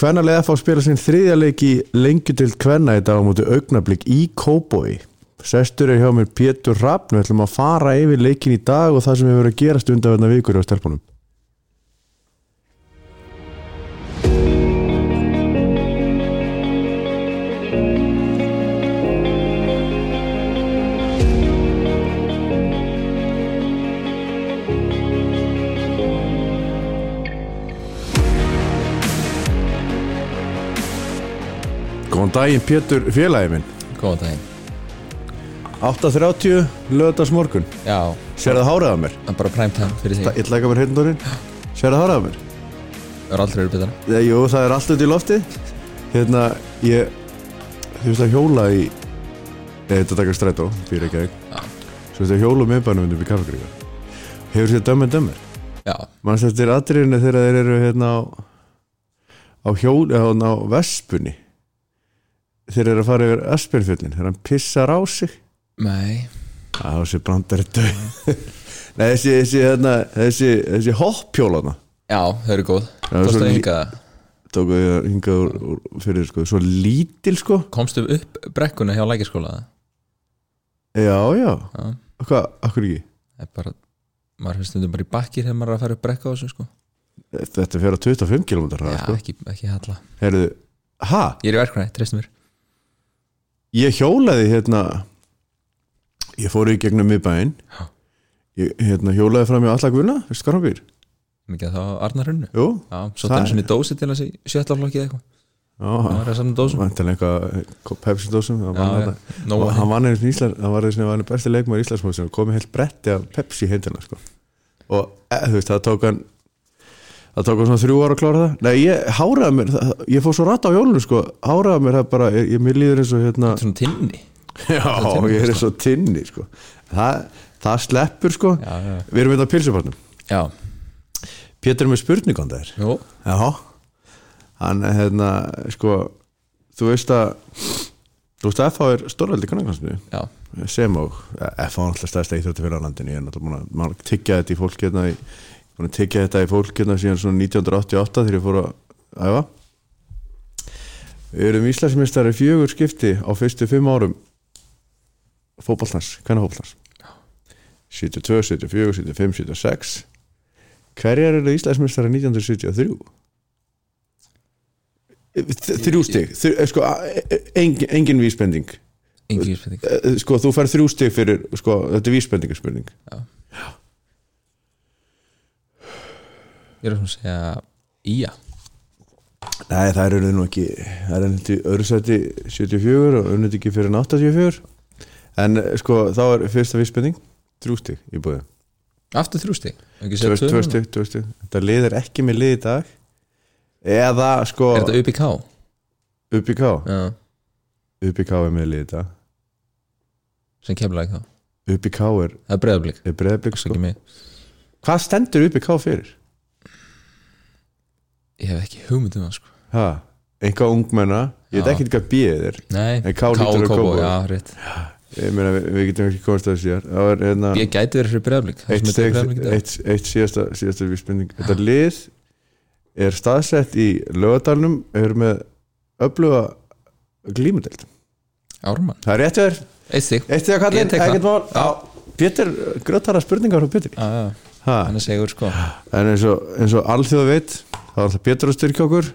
Kvennarlega FH spila sinn þriðja leik í lengjudild kvenna í dag á móti augnablík í Kóboi. Sestur er hjá mér Pétur Rappn, við ætlum að fara yfir leikin í dag og það sem hefur verið að gerast undanverðna vikur á stelpunum. Góðan daginn Pétur félagi minn, Góðan daginn 8.30 löðdags morgun, Já, sér það háraða mér, það er bara prime time fyrir það þig illa mér heyrndorinn, sér það háraða mér. Það er aldrei verið betra Já, jú, það er allt út í lofti, hérna ég, þú veist að hjóla í, eða þetta taka strætó, fyrir ekki að Já. svo veist að hjóla um með bænum upp í kaffegríka. Hefur sér dömmen dömmer, Já, mann sem þetta er atriðinu þegar þeir eru hérna á, á hjól, eða hérna á vespunni, þeir eru að fara yfir Aspenfjöllin, þegar hann pissar á sig. nei Já, þessi brandar er döð Nei, þessi, þessi, hérna, þessi, þessi hoppjólana Já, þau eru góð það er Tókstu svo að lí- hinga það Tóku ég hingað úr, úr fyrir, sko Svo lítil, sko Komstu upp brekkuna hjá lækiskóla Já, já Já, Hvað, akkur ekki? það er bara Maður fyrir stundum bara í bakkir þegar maður er að fara upp brekka á þessu sko Þetta fer að 25 km hraða, Já, sko ekki, ekki halla Herðu, ha? Ég er í verkvæði, treystu mér Ég hjólaði, hérna Ég fór í gegnum miðbæinn Já. Ég, hérna, hjólaði fram í alla guna Veistu hvað hann býr? Mikið að það á Arnar Runnu Jú, Já, svo Það- það er svona í dósi til þessi sjöttaflokki eða eitthvað Það já er að samna dósum Væntanlega eitthvað Pepsi-dósum það Já, vann já, þetta. nóg og að hann vann einu sinni Ísland hann var einu sinni valinn besti leikmaður Íslandsmóðsinn og komið heilt bretti af Pepsi hendina sko. og e, þú veist, það tók hann það tók hann svona þrjú ára að klára það nei, ég háraði mér, það, ég fór svo rætt á hjólunum sko, háraði mér það bara, ég, ég mér líður eins og hérna, Svona tinni já, ég er eins og tinni sko, það, það sleppur sko, Já, já, við erum hérna á pilsubarnum já Pétur er með spurning om þær Jú, Já Hann er hérna sko Þú veist að Þú veist að FH er stórveldi kannakansinu já, sem og eh, ja, FH er alltaf stærsta íþjótti fyrir á landinu ég er náttúrulega búin að- búin að tyggja þetta í fólk hérna í, búin að tyggja þetta í fólk hérna síðan svona 1988 þegar ég fór að æfa Við erum Íslandsmeistari fjögur skipti á fyrstu fimm árum fótballtans, hvernig fótballtans 72, 74, 75, 76 Hverjar eru Íslandsmeistari 1973? Þ- Þrjú stig, þrjú, eh, sko, engin, engin vísbending engin spurning Eh, sko, þú fær þrjú stig fyrir sko, þetta er vísbendingarspurning Ég er að svona segja Ía Nei, það eru nú ekki það eru nú til öðru sæti 74 og unnit ekki fyrir en 84 en eh, sko, þá er fyrsta vísbending þrjú stig í búið Aftur þrjústi tvö tvö stig, tvö stig þetta liðir ekki með lið í dag eða sko, Er þetta UPK? upp í ká Já upp í ká er með lið í dag sem kemlaði þá upp í ká er, það er breyðablík, er breyðblik sko. sko. hvað stendur upp í ká fyrir? ég hef ekki hugmynd um það sko. Ha, einhvað ungmenna, ég veit Já. ekki hvað býðið er nei, En K lítur að Kópavogi. já, rétt ég meina, við, við getum ekki komast að síðar það var hérna ég gæti verið fyrir breyðablík eitt, steg, eitt, eitt síðasta, síðasta vísbending þetta lið er staðsett í lögadalnum er með öfluga glímudeld ármann, það er rétt hjá þér, eitt stig eitt því að Ég kallin tek það. ekkert mál, já, Pétur grötara spurningar frá Pétur, Já, já, ha, hann er segur sko já, en eins og, eins og alþjóð veit, þá er það Pétur að styrkja okkur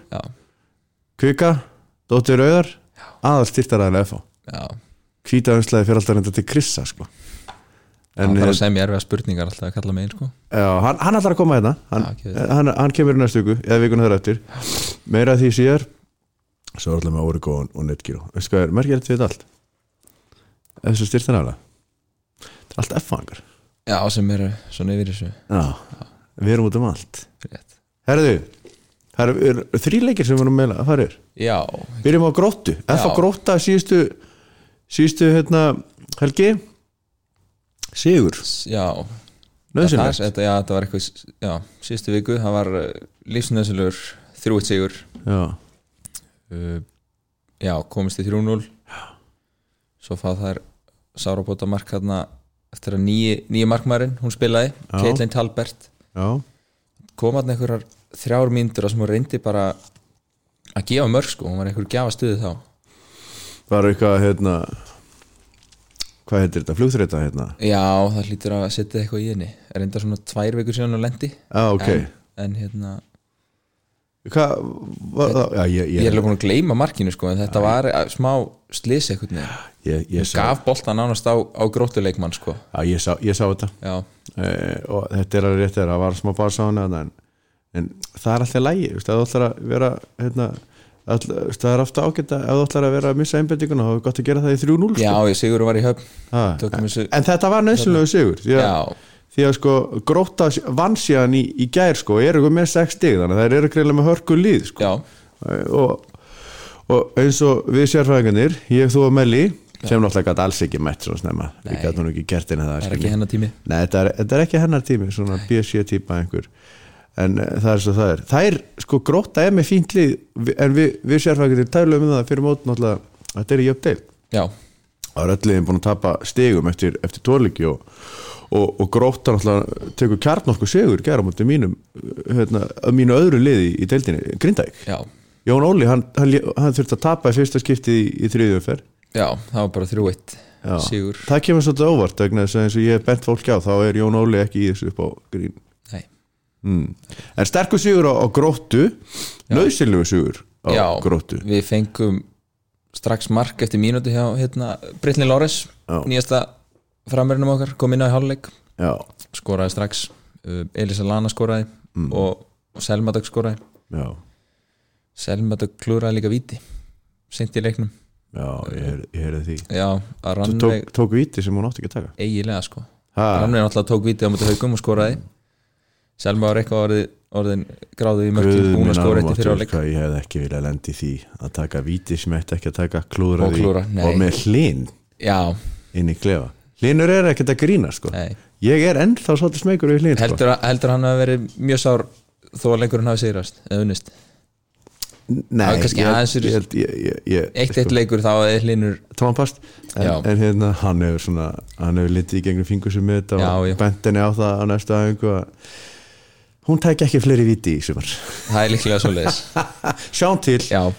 kvika, Dóttir Auðar aðal styrtaræðilega FH já hvíta umslæði fyrir alltaf reynda til Krissa sko. en hann þarf hérna- að segja mér erfiða spurningar alltaf að kalla mig inn sko Já, hann, hann ætlar að koma hérna hann, Já, ekki við. hann, hann kemur í næstu viku eða vikuna þar eftir meira af því síðar svo er alltaf með Origo og- og Netgyro veistu hvað er merkjært við þetta allt ef þessu styrt hann aðla þetta er allt F-fangar já, sem eru svona yfir þessu við erum út um allt rétt. herðu, það eru eru þrír leikir sem við erum meila að fara yfir já, byrjum á gróttu, F á Já. grótta síðustu síðustu hérna helgi Sigur, s- já nöðsynlegt þetta, já, þetta var eitthvað s- já, síðustu viku, það var eh, lífsnöðsynlur þrjúið sigur Já, uh, já, komist í 3-0 svo fá þær sárabóta mark hérna eftir að nýji, nýji markmaðurinn, hún spilaði Já. Caitlin Talbert, já, kom hann einhverjar þrjár mínútur að sem hún reyndi bara að gefa mörg sko, hún var einhver gjafa stuði þá var eitthvað hérna hvað heitir þetta, flugþreita hérna Já, það hlýtur að setja eitthvað í henni er enda svona tvær vikur síðan og lendi ah, ok, en, en hérna, hvað var það já, ég, ég er ég, alveg búin að gleyma markinu sko, en þetta var að- smá slis eitthvað hún ég, ég, sá, gaf boltan nánast á, á gróttuleikmann sko. já, ég, sá, ég sá þetta Já, eh, og þetta er alveg rétt þegar það var smá basa á hana þarna, en, en það er alltaf lægi það ætlar að vera hérna, all, veist, það er ofta ágætt að ef þú ætlar að vera að missa einbendinguna þá er gott að gera það í 3-0 já sko. ég Sigur var í höfn Ha, tökum þessu- en þetta var nöðsynlegu sigur því að, Já, því að sko gróta vann síðan í, í gær sko og eru ykkur með 6 stig þannig að þær eru greiðlega með hörku líð sko. já, Eh, og, og eins og við sérfræðingarnir ég þú og Melli sem náttúrulega gæti alls ekki mætt svo snemma við Nei. gætum nú ekki gert inn að það er ekki hennar tími Nei, þetta er, þetta er ekki hennar tími svona BSC típa einhver en uh, það er svo það er það er sko gróta er með fínt lið vi- en við, við sérfækjum tælum um það fyrir mót náttúrulega þetta er í uppdeil Já, það er öll liðin búin að tapa stigum eftir, eftir tórleiki og, og, og gróta náttúrulega tekur kjarn okkur sigur gera mútið mínum hérna, að mínu öðru liði í deildinni Grindæk já, Jón Óli, hann, hann, lé- hann þurfti að tapa í fyrsta skipti í, í þriðju umferð já, það var bara 3-1 Já. Sigur, það kemur svolítið óvart vegna þess að eins og ég hef bent fólki á þá er Jón Óli ekki í þessu upp á grín nei Mm. En sterkur sigur á, á gróttu Nauðsynlegu sigur á Já. gróttu Við fengum strax mark eftir mínútu hjá hérna, Brytlin Lóres Já. nýjasta framverðinum okkar, kom inn á í hálfleik Já, skoraði strax uh, Elisa Lana skoraði og, og Selma Dögg skoraði Mm. já, Selma Dögg klúraði líka víti sent í leiknum já, ég heyrði- ég heyrði því já, að Þú Rannveig tók, Ah. tók víti sem hún átti ekki að taka eigilega sko ha, Rannveig náttúrulega tók víti á mútu haugum og skoraði Selma var eitthvað orðið, orðin gráðið í mörgum Guð búin minn að skora almáttugur, eftir fyrir áleik hvað Ég hefði ekki viljað lendi því að taka víti sem ég ætti ekki að taka klúðra Og því klúðra, nei. og með hlinn já, inn í klefa Hlinur er ekkert að grína sko nei Ég er ennþá svolítið smekur við hlinn sko. heldur, að- heldur að hann hafi verið mjög sár þó að leikurinn hafi sigrast eða unnist Nei, Það er kannski ég, aðeins ég, fyrir- held- ég, ég, ég, eitt eitt leikur þá er hlinur tónpast Já. en, en hérna hann hefur svona hann hefur litið í gegnum fingur sem mitt Já, og já. bent henni á það á næstu aðingu að hún tæk ekki fleiri viti í sumar það er líklega svo leiðis sjáum til, já,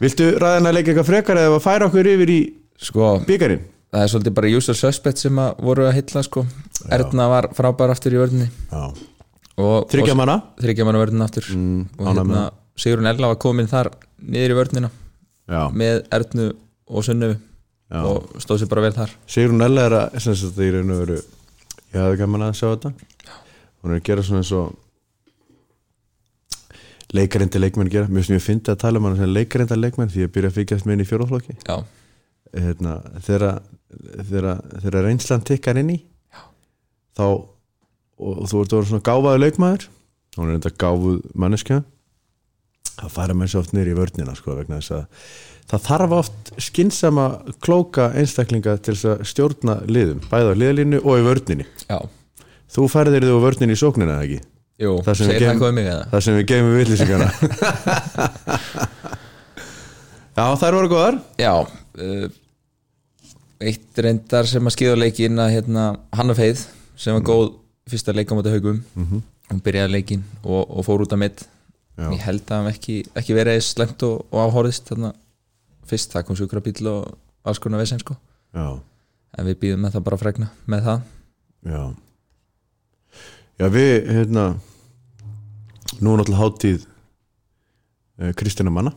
viltu ræðina leika eitthvað frekar eða færa okkur yfir í sko byggarinn það er svolítið bara usual suspect sem að voru að hitla sko. Erna var frábær aftur í vörðinni og þryggja manna þryggjaman vörðin aftur mm, og ánægð með hérna Sigurinn Erla var komin þar niður í vörðinina já. með Ernu og Sunnu Já. og stóð sér bara vel þar Sigrun Ella er að sem sagt, í raun og veru, ég hafði gaman að sjá þetta hún er að gera svona eins og leikarinn til leikmenn gera, mjög sem ég fyndi að tala um hann sem leikarinn til leikmenn því ég byrja að fylgjast með henni í fjóraflokki já, hérna, þegar, þegar, þegar reynslan tikkar inn í þá og þú ert að vera svona gáfaði leikmaður hún er enda gáfuð manneskja það fara mér svo oft niður í vörnina sko, vegna þess að það þarf oft skynsama klóka einstaklinga til þess að stjórna liðum bæði á liðalínu og í vörninni já, þú færðir þig á vörninni í sóknina eða ekki jú, Það sem við segir það gerum- eitthvað um mig eða það sem við geymum villisingana já þær voru góðar já uh, eitt reyndar sem að skýða leikinn að hérna Hanna Feið sem Mm. var góð fyrsta leik á móti haugum hún byrjaði leikinn og, og fór út að mitt Já. ég held að hann ekki, ekki verið eða slemt og, og áhorðist þarna fyrst það kom sjúkrabíl og alls konar vesend sko já en við býðum með það bara að fregna með það Já Já við hérna Nú er náttúrulega hátíð eh, Kristina manna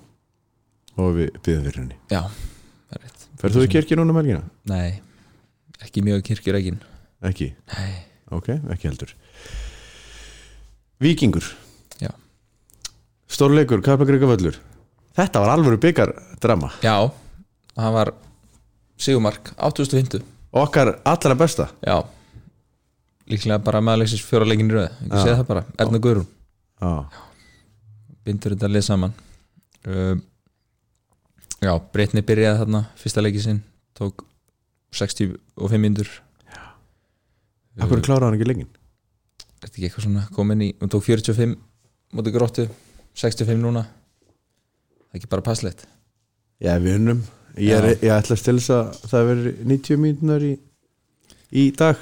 og við byggðum fyrir henni já, það er rétt Ferð þú í kirkju núna um helgina? nei, ekki mjög kirkjureikin Ekki, nei, ok, ekki heldur Víkingur já Stórleikur, Kaplagrika völlur Þetta var alvöru byggardrama já, hann var Sigumark, 8050 Okkar allra besta já líklega bara meðalegsins fjóra leikin í röð ekki Já. segja það bara, Erna Guðrún Já, bindur þetta lið saman uh, já, Breitni byrjaði þarna fyrsta leiki sinn, tók 65 mindur akkur kláraði hann ekki lengin Uh, er þetta ekki eitthvað svona komin í hún tók 45 móti gróttu 65 núna það er ekki bara passlegt Já, við unnum Ég, er, ég ætlast til þess að það veri 90 mínútur í, í dag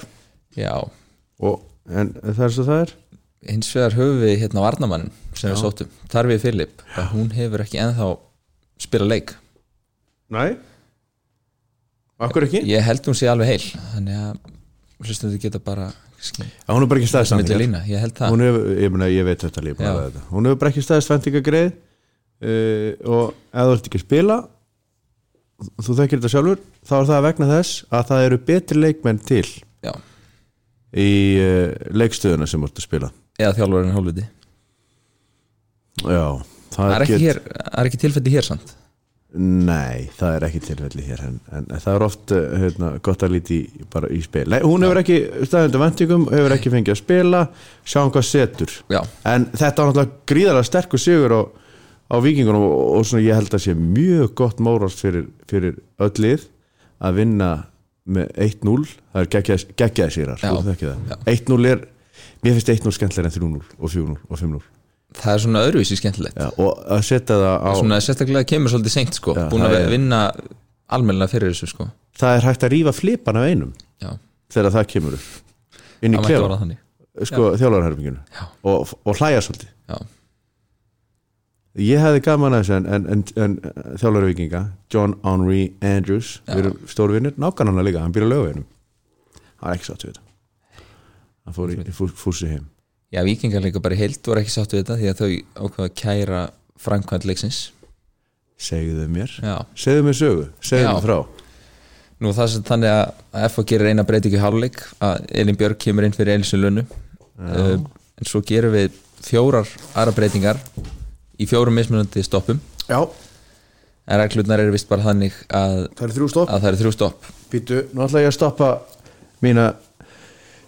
já, og, en það er svo það er hins vegar höfum við hérna varnamann sem við sóttum, Tarfi Filip að hún hefur ekki ennþá spila leik Nei Akkur ekki? ég held hún sé alveg heil þannig að hlustum þið geta bara Já, Hún er bara ekki milli staðsendingar lína, ég held það Hún hefur, ég, mena, ég veit þetta líf Já. þetta. Hún hefur bara ekki staðsendingar greið uh, og ef þú ert ekki að spila þú þekkir þetta sjálfur þá er það vegna þess að það eru betri leikmenn til já, í uh, leikstöðuna sem þú ert að spila eða þjálfurinn hálfviti Já, það það er ekki, get- hér- það er ekki tilfelli hér samt Nei, það er ekki tilfelli hér en, en það er oft uh, hérna, gott að líti í- bara í spil Nei, hún hefur ekki staðendur vendingum, hefur ekki fengið að spila sjáum hvað setur já, en þetta var náttúrulega gríðarlega sterkur sigur á, á vikingunum og, og svona ég held að sé mjög gott móralt fyrir, fyrir öll lið að vinna með 1-0 það er geggjaði- geggjaði sigrar Já. þú þekkir það. 1-0 er, mér finnst 1-0 skemmtilega en 3-0 og 4-0 og 5-0 það er svona öðruvísi skemmtilegt Já, og að setja það á svona sérstaklega kemur svolítið seint sko Já, búin að það er- vinna almennilega fyrir þessu sko það er hægt að rífa flipan af einum já, þegar það kemur upp inn í það mætti klefa vera þannig sko, þjálfarherfinginu Já. og, og hlæja svolítið já, ég hefði gaman að þessu en, en, en, en þjálfarherfinga John Henry Andrews Já. við erum stórvinnir, nákan hann líka hann býr að lögu hennum hann er ekki sátt við þetta hann fór, í, fór, fór sér heim já vikingar líka bara í heild voru ekki sátt við þetta því að þau ákvaða kæra framkvæmt leiksins segðu þau mér, já, segðu mér sögu segðu Já. mér frá nú það sem þannig að- að FH gerir eina breytingu í hálfleik að Elin Björk kemur inn fyrir Elisun Lunnu uh, en svo gerum við fjórar aðra breytingar í fjórum mismunandi stoppum já, en reglurnar eru vist bara þannig að, það er þrjú stopp að það eru þrjú stopp býtu, nú ætla ég að stoppa mína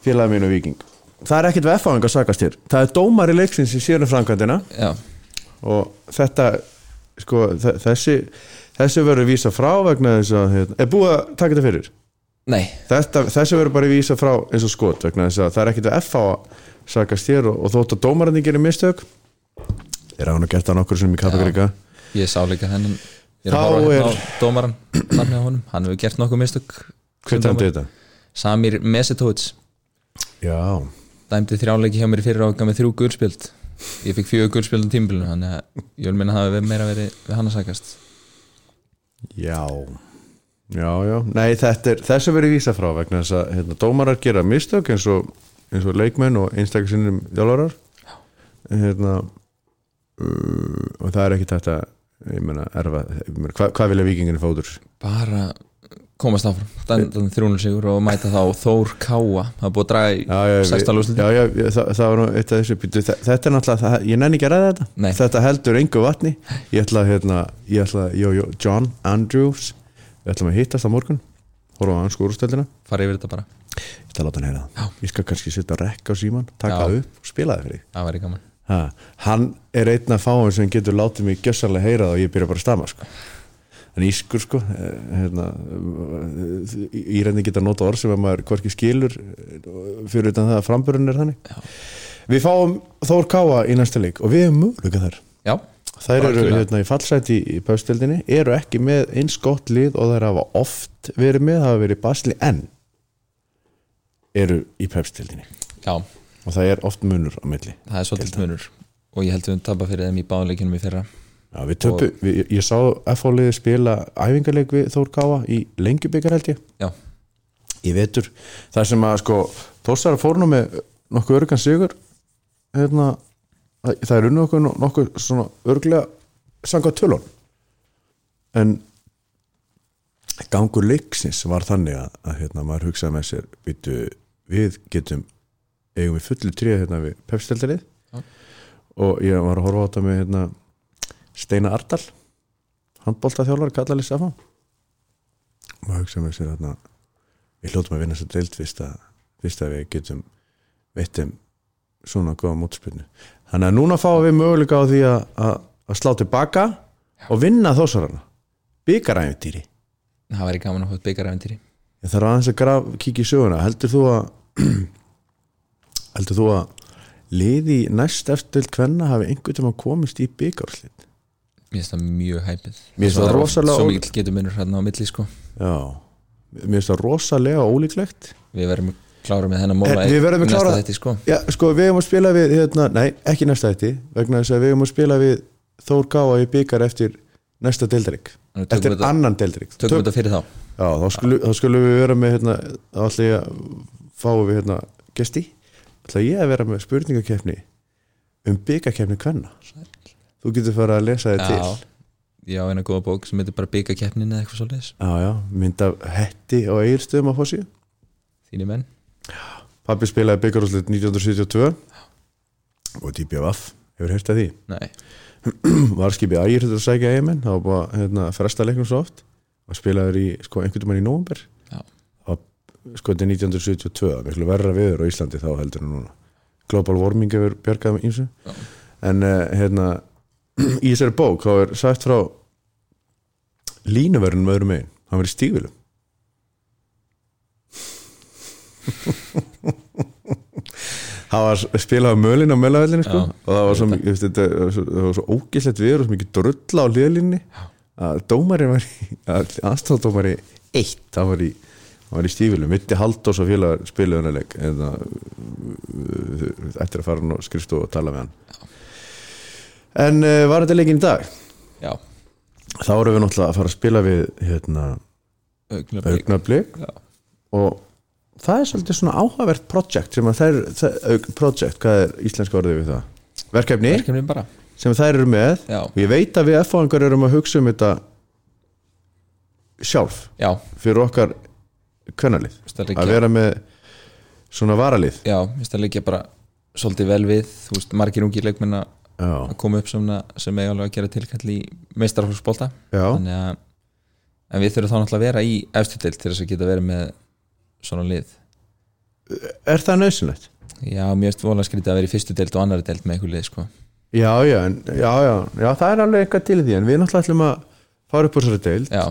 félaga mínu viking það er ekkit veffaðing að sakast hér það er dómari leiksins í síðanum framkvæmdina já, og þetta sko, þe- þessi þessi verður vísa frá vegna þess að hérna, er búið að taka þetta fyrir nei, þetta, þessi verður bara vísa frá eins og skot vegna þess að það er ekkit að F á að sakast þér og, og þótt að dómarandi gerir mistök er hann að gert það nokkur sem í kapakrika Ég sá líka þennan Ég er Þá að horfa hérna er- á dómaran Þannig á honum, hann hefur gert nokkuð mistök hver dæmdi þetta? Samir Mesetovic já, Dæmdi þrjáleiki hjá mér í fyrir áka með þrjú gulspjöld Ég fikk fjögur gulspjöld um tímbilinu Þannig að ég vil minna að það hafi meira verið við hann að sakast já já, já, nei þetta er þessi verður vísa frá vegna þess að hérna, dómarar gera mistök eins og, eins og leikmenn og einstakarsinnum þjálfarar hérna uh, og það er ekkit þetta ég meina erfa, ég meina, hva, hvað vilja vikinginu fóður? Bara komast áfram Þannig þrjúnul sigur og mæta þá Þór Káa Það er búið að draga Já, já, í 16 já, lúslutin já, já það, það var nú eitt af þessu býtu, þe- þetta er náttúrulega, það, ég nenni ekki að ræða þetta Nei. þetta heldur engu vatni ég ætla að, hérna, ég ætla að, jó, jó, John Andrews við ætlum að hittast á morgun horfa á hans skúrustöldina Fara yfir þetta bara ég ætla að láta hann heyra það, Já. ég skal kannski setja rekk á síman, taka Já. það upp og spila það fyrir þig. Það væri gaman ha, hann er einn af fáum sem getur látið mig gjössanlega heyra það og ég byrja bara að stama sko. en ískur sko eh, hérna, írændi geta nota orð sem að maður hvorki skilur eh, fyrir utan það að framburinn er þannig Já. Við fáum Þór Káa í næsta leik og við hefum möguleika þar. Já, Þær eru Algjörlega. hérna í fallsæti í pöstildinni, eru ekki með eins gott lið og þær hafa oft verið með, hafa verið í basli en eru í pöstildinni já, og það er oft munur á milli. það er svolítið munur Og ég held við um tapa fyrir þeim í báðleikinum í fyrra Já, við töpu, við, ég- ég sá F-hólið spila æfingarleik við Þór Káa í lengjubikar held ég, Já, í vetur. Það sem að sko, Þórsara fórnum með nokkuð örgan sigur, hérna, það það er unni okkur nokkuð svona örglega sangað tölun. En gangur leiksins var þannig að, að hérna, maður hugsaði með sér, býtu, við getum, eigum við fullu tríða hérna við pepsteldarið Já. og ég var að horfa á þetta með hérna, Steina Ardal handbóltaþjálfar kallar lýsa fá og hugsa með sér hérna, þarna við hljótum að vinna þess að deild fyrst að, fyrst að við getum veittum svona góða mótspilnu þannig að núna fáum við möguleika á því að, að, að slá tilbaka og vinna þósarana byggaræfintýri það væri gaman að hótt byggaræfintýri ég þarf aðeins að graf, kíkja í söguna heldur þú að heldur þú að liði í næst eftir deild kvenna hafi einhvern tíma komist í byggarslit Mér finnst það mjög hæpið Mér finnst það Svo- rosalega Svo ól- mikill getur minnur hérna á milli sko Já, mér finnst það rosalega ólíklegt Við verðum klára með þennan móla Eh, við verðum að klára- þetta sko. Já, sko, við hefum að spila við hérna, Nei, ekki næsta þetta vegna þess að við hefum að spila við Þór Gáa í byggar eftir næsta deildrik Nú tökum Eftir við þetta- annan deildrik tökum við þetta fyrir þá Já, þá skulum, þá skulum við vera með hérna, þá ætla ég að fáum við hérna gesti, ætla ég að vera með spurningakefni um byggakefni kvenna þú getur fara að lesa þið já, Eh, til já, eina góða bók sem heitir bara byggakeppnin eða eitthvað svolítið Já, já, mynd af hetti og eigilstöðum á fósíu þínir menn, Pappi spilaði byggarúslit 1972 og DBVF hefur heyrt að því nei, var skipið ægir þetta að sækja eigamenn það var bara hérna, fresta leiknum svo oft og spilaður í, sko, einhvern veginn í nóvember Já. og sko, þetta er 1972 miklu verra viður á Íslandi þá heldur en núna global warming hefur bjargað með ímsu Já. en uh, hérna í þessari bók þá er sagt frá línuverðin með öðrum megin hann verið stígvilum Það var spilað á mölin á mölavellinu sko, Já. og það var svo, mikið- þú veist, þetta, var svo, það var svo ógislegt viður og svo mikið drulla á liðlinni að dómari var í aðstofdómari eitt, það var í hann var í stífilum, Vitti Haldós og félagar spiluðu hennar leik en það eftir að fara hann og skrifstu og tala með hann en uh, var þetta leikin í dag já, þá erum við náttúrulega að fara að spila við hérna, augnablik augnablik já, og það er svolítið svona áhugavert projekt sem að þær, þær auk, projekt, hvað er íslenska orðið við það? Verkefni verkefnin bara sem þær eru með já, og ég veit að við F-fangar erum að hugsa um þetta sjálf já, fyrir okkar kvennalið veist að að leggja vera með svona varalið já, veist að leggja bara svolítið vel við, þú veist, margir ungi leikmenn að já, að koma upp sem, sem eiga alveg að gera tilkall í meistarhófsbólta já, þannig að en við þurfum þá náttúrulega að vera í efstu til til þess að geta verið með svona lið er það nöðsynlegt? já, mér finnst vola skrítið að vera í fyrstu deild og annari deild með einhver lið sko. Já, já, en, já, já, já, það er alveg eitthvað til í því en við náttúrulega ætlum að fara upp úr þessari deild já,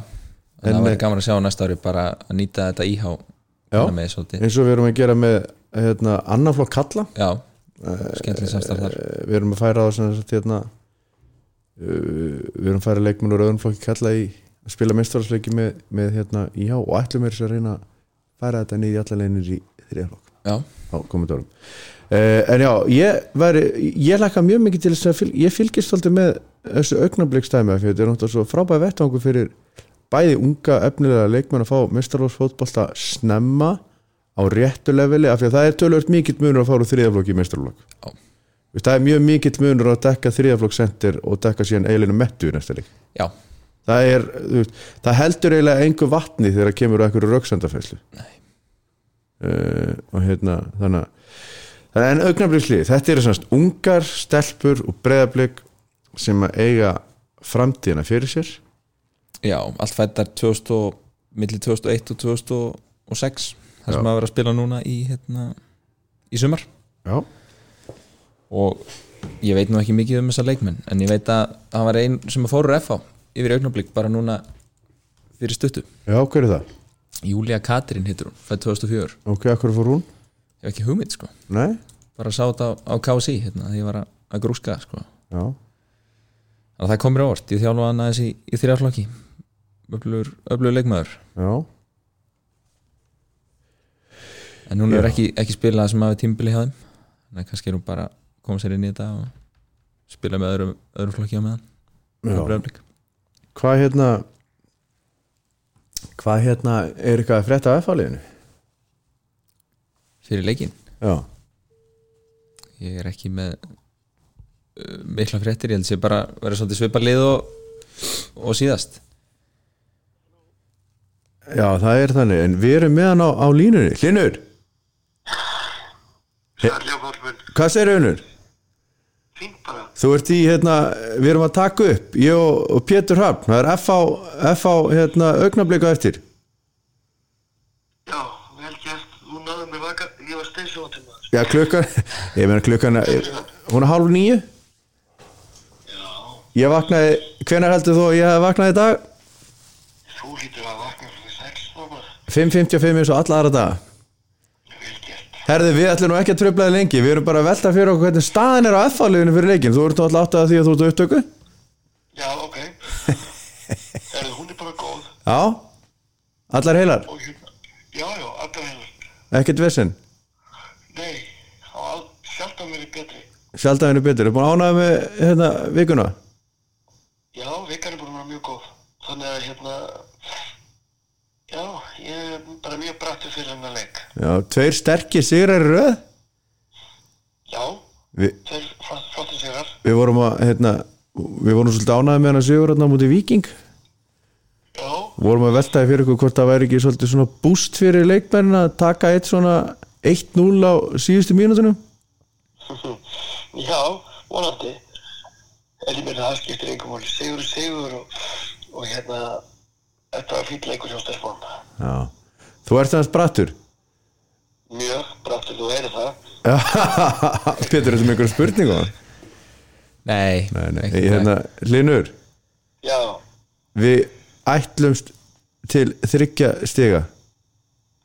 en, En- það væri gaman að sjá næsta ári bara að nýta þetta íhá Já. með svolítið eins og við erum að gera með hérna, annan flokk kalla já, skemmtileg samstarf þar Eh, við erum að færa á sem sagt, hérna, eh, við erum að færa leikmenn úr öðrum flokki kalla í að spila meistarhaldsleiki með, með hérna, já og ætlum er að reyna að færa þetta niður í alla leinir í þriðaflokk já, á komandi árum uh, en já, ég væri ég laka mjög mikið til þess að fylg, ég fylgist svolítið með þessu augnablikstæmi af því að þetta er náttúrulega svo frábæð vettangu fyrir bæði unga efnilega leikmenn að fá meistarhaldsfótbolta snemma á réttu leveli af því að það er tölvöld mikill munur að fara úr þriðaflokki í meistarhaldsfólk já, Þú veist, Það er mjög mikill munur að dekka þriðaflokkssendir og dekka síðan eiginlega mettu í næsta leik. já, Það, er, þú veist, það heldur eiginlega engu vatni þegar það kemur á einhverju röksendafæslu. Uh, og hérna, þannig að þannig að en augnabliðslið, þetta eru svona ungar, stelpur og breðablið sem að eiga framtíðina fyrir sér. já, allt fættar 2000 og, milli 2001 og 2006 það sem Já. að vera að spila núna í hérna, í sumar Já. og ég veit nú ekki mikið um þessa leikmenn en ég veit að það var einn sem að fóru FH yfir augnablík bara núna fyrir stuttu Já, hver er það? Júlia Katrín hittur hún, fætt 2004 Ok, akkur fór hún? ég hef ekki hugmynd sko, Nei? bara sá þetta á, á KSI hérna, þegar ég var að, að grúska sko Já. þannig að það komur á orð, ég þjálfa hann aðeins í, í þrjáflokki öflugur, öflugur leikmaður Já. en hún Já. er ekki, ekki spilað það sem hafi tímbili hjá þeim þannig að kannski er hún bara koma sér inn í þetta og spila með öðrum, öðrum flokki á meðan Já. Breiðablik. Hvað hérna hvað hérna er eitthvað að frétta af F-fáliðinu? fyrir leikin Já. Ég er ekki með uh, mikla fréttir, ég held sér bara verið svolítið svipa lið og, og síðast Já, það er þannig, en við erum með hann á, á línunni. Hlinur, Sælja Þorfinn, hvað segir Unur? fínt bara. Þú ert í, hérna, við erum að taka upp, ég og, og Pétur Hafn, það er FH, FH hérna, augnablika eftir. Já, vel gert. Þú náðu mér vaka, ég var steinsjóti maður. Já, klukkan, ég meina klukkan, er- hún er hálf nýju. Já, Ég vaknaði, hvenær heldur þú að ég hef vaknaði í dag? þú hlýtur að vakna fyrir sex núna. 5.55 eins og alla aðra daga. Vel gert. Herði, við ætlum nú ekki að tröflaði lengi, við erum bara að velta fyrir okkur hvernig staðin er á FH-liðinu fyrir leikin. Þú ert alltaf áttað að því að þú ert á upptöku? Já, ok. Erðu, hún er bara góð Já, allar heilar. og hérna. Já, já, allar hennar. ekkert vesen Nei, á al- sjaldan verið betri. sjaldan henni betur, er búin ánægð með hérna, vikuna Já, vikan er búin að vera mjög góð. Þannig að hérna, já, ég er bara mjög brattur fyrir hennar leik. já, tveir sterkir sigrar í röð Já, Vi, þeir flottir sigrar. við vorum að hérna, við vorum svolítið ánægð með hennar sigur hérna á múti viking Já, vorum að veltaði fyrir ykkur hvort það væri ekki svolítið svona búst fyrir leikmenn að taka eitt svona 1-0 á síðustu mínútunum já, vonandi. En ég meina, það skiptir einhver múli. Sigur, er sigur og, og hérna, þetta var fýll leikur hjá stærfum. já, þú ert hans brattur Mjög brattur, þú heyrir það. Pétur, þetta með einhverjum spurningum Nei, Nei, nei, ekki- hérna, Linur Já, Við ætlumst til þryggja stiga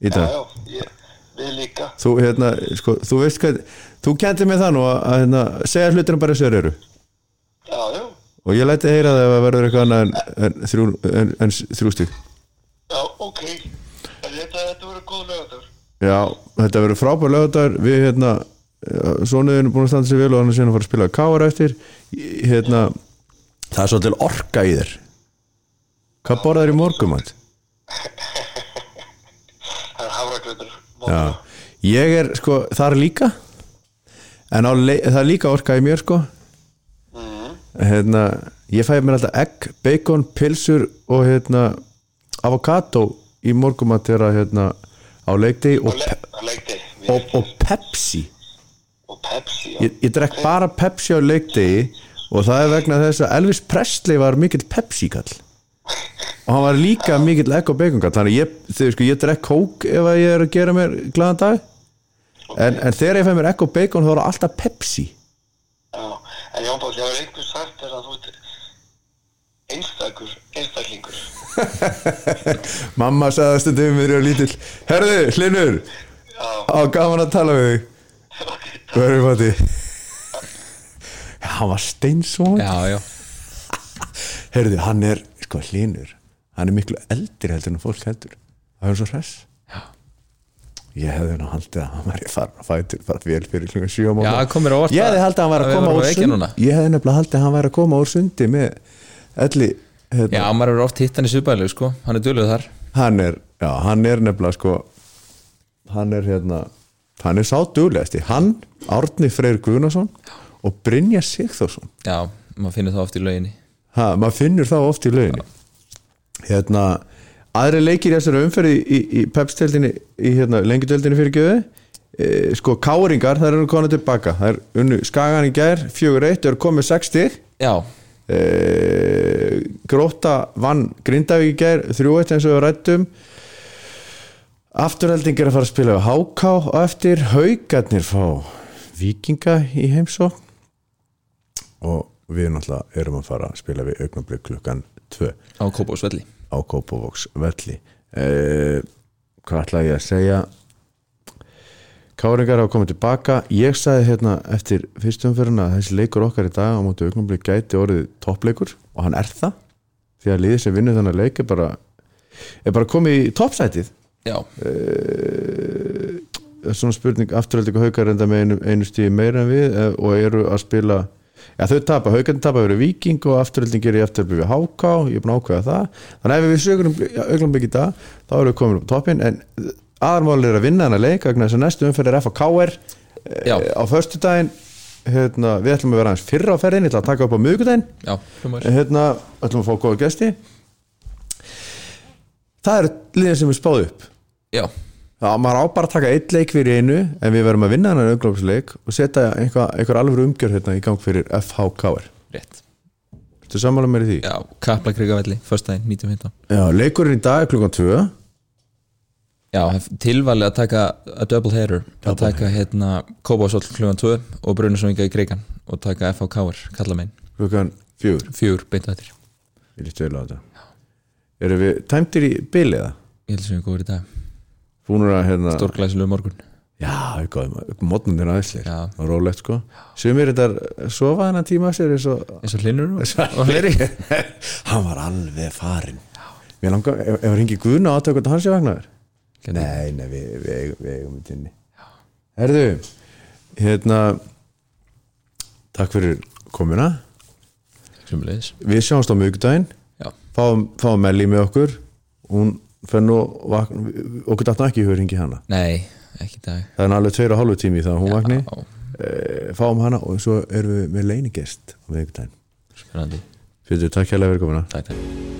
í já, dag já, ég, við líka. Þú, hérna, sko, þú veist hvað Þú kentir mig það nú að, að hérna, segja hlutina bara sér eru Já, já, og ég læti heyra það ef það verður eitthvað annað en, en, þrjú, en, en s- þrjú stig já, ok. En Þetta, þetta verður góð lögatur. Já, þetta verður frábær lögðar við hérna, svonuðin er búin að standa sér vel og hann er síðan að fara að spila káar eftir Ég- hérna, það er svolítil orka í þér Hvað borðar í morgumann? Það er hafragröður. Já, ég er sko þar líka en á, le- það er líka orka í mér sko hérna ég fæði mér alltaf egg, bacon, pilsur og hérna avokado í morgumat þegar að, hérna á leikdegi og, Le leikti og, og pepsi og Pepsi já. ég, ég drekk bara pepsi á leikdegi og það er vegna þess að Elvis Presley var mikill pepsi kall og hann var líka mikill egg og bacon kall þannig að ég, þau, sko, ég drekk kók ef að ég er að gera mér glaðan dag en, en þegar ég fæ mér egg og bacon þá er það alltaf pepsi Já. En Jón Páll, ég var einhver sagt þess að þú ert einstakur, einstaklingur mamma sagði það stundum við erum lítill herðu, Hlinur á gaman að tala við þig verður fætti já, hann var steinsvon Já, já herðu, hann er, sko Hlinur hann er miklu eldri heldur en fólk heldur það er svo hress Ég hefði nú haldið að hann væri farin að fætur bara vel fyrir klunga 7 Já, það kom mér á óvart Ég hefði að- haldið að hann væri að að við koma vorum úr að vekja sundi núna. Ég hefði nefnilega haldið að hann væri að koma úr sundi með elli hérna, Já, maður verður oft hitt hann í Suðbælu, sko Hann er dölur þar hann er, já, hann er nefnilega sko hann er hérna hann er sátulegasti, hann Árni Freyr Guðnason og Brynja Sigþórsson Já, maður finnur það oft í lauginni ha, maður finnur þá oft í löginni hérna aðri leikir í þessari umferði í, í, í pepsteldinni, í hérna lengjudeldinni fyrir gjöðu e, sko káringar, það eru konu tilbaka það er unnu skagan í gær, fjögur eitt eru komið 60 Já, e, Gróta vann Grindavík í gær 3-1 eins og við rættum Afturhelding er að fara að spila við Háká og eftir Haukarnir fá Víkinga í heimsók og við náttúrulega erum að fara að spila við augnablið klukkan 2 á Kópásvelli á Kópavoks velli eh, hvað ætla ég að segja Káringar hafa komið tilbaka ég sagði hérna eftir fyrstumferðina að þessi leikur okkar í dag á móti augnumblík gæti orðið toppleikur og hann er það því að liðið sem vinnur þannig leik er bara, er bara komið í toppsætið Já, Það er svona spurning afturhaldið haukar enda með einu, einu stíði meira en við eh, og eru að spila Já, þau tapa, haukarnir tapa fyrir viking og afturhaldin gerir ég afturhaldin við háká ég er búin að ákveða það þannig að ef við sögurum augnabík í dag þá erum við komin upp á toppin en aðarmálið er að vinna hana leik vegna þess að næstu umferð er FKR Já. eh, á föstudaginn hérna, við ætlum að vera aðeins fyrra á ferðin ég ætla að taka upp á miðugudaginn já, hlumar En hérna ætlum að fá góða gesti það eru liðin sem er spáð upp Já, Já, maður á bara að taka eitt leik fyrir einu en við verðum að vinna hann auðglópsleik og setja einhver, einhver alvöru umgjörð hérna í gang fyrir FHKR. rétt Þetta sammála mér í því? Já, Kaplakrygavelli, föstudaginn, 1915 Já, leikurinn í dag er klukkan 2 Já, tilvalið að taka a double header að taka hérna Kópásvöll klugan 2 og Brunarsönga í Krigan og taka FHK-er, kalla megin klukkan 4 Fjör, beint á eftir Ég líst vel á þetta Erum við tæmtir í bili eða? Ég held sem við góður í dag, Búnur að hérna stórglæsilegu morgun Já, ég góðum, mótnum þér aðeinsleir Já. og rólegt sko Sumir þetta sofa hennan tíma af sér eins og eins og hlinnur og hleri e- Hann var alveg farinn Mér langar, ef, ef hringi Guðna átökund hans ég vagnar Nei, nei, við, við, eigum- við eigum í tinni Herðu, hérna Takk fyrir komuna Sumleis Við sjáumst á miðvikudaginn Já, Fáum, fáum Melli með okkur Hún fer nú vakna, Okkur datt nú ekki í höringi hana nei, ekki í dag Það er nú alveg tveir og hálfu tími þannig að hún vakni Á, Eh, Fáum hana og svo erum við með leiningest á miðvikudaginn spennandi Fyrir takk hérlega fyrir komuna Takk, takk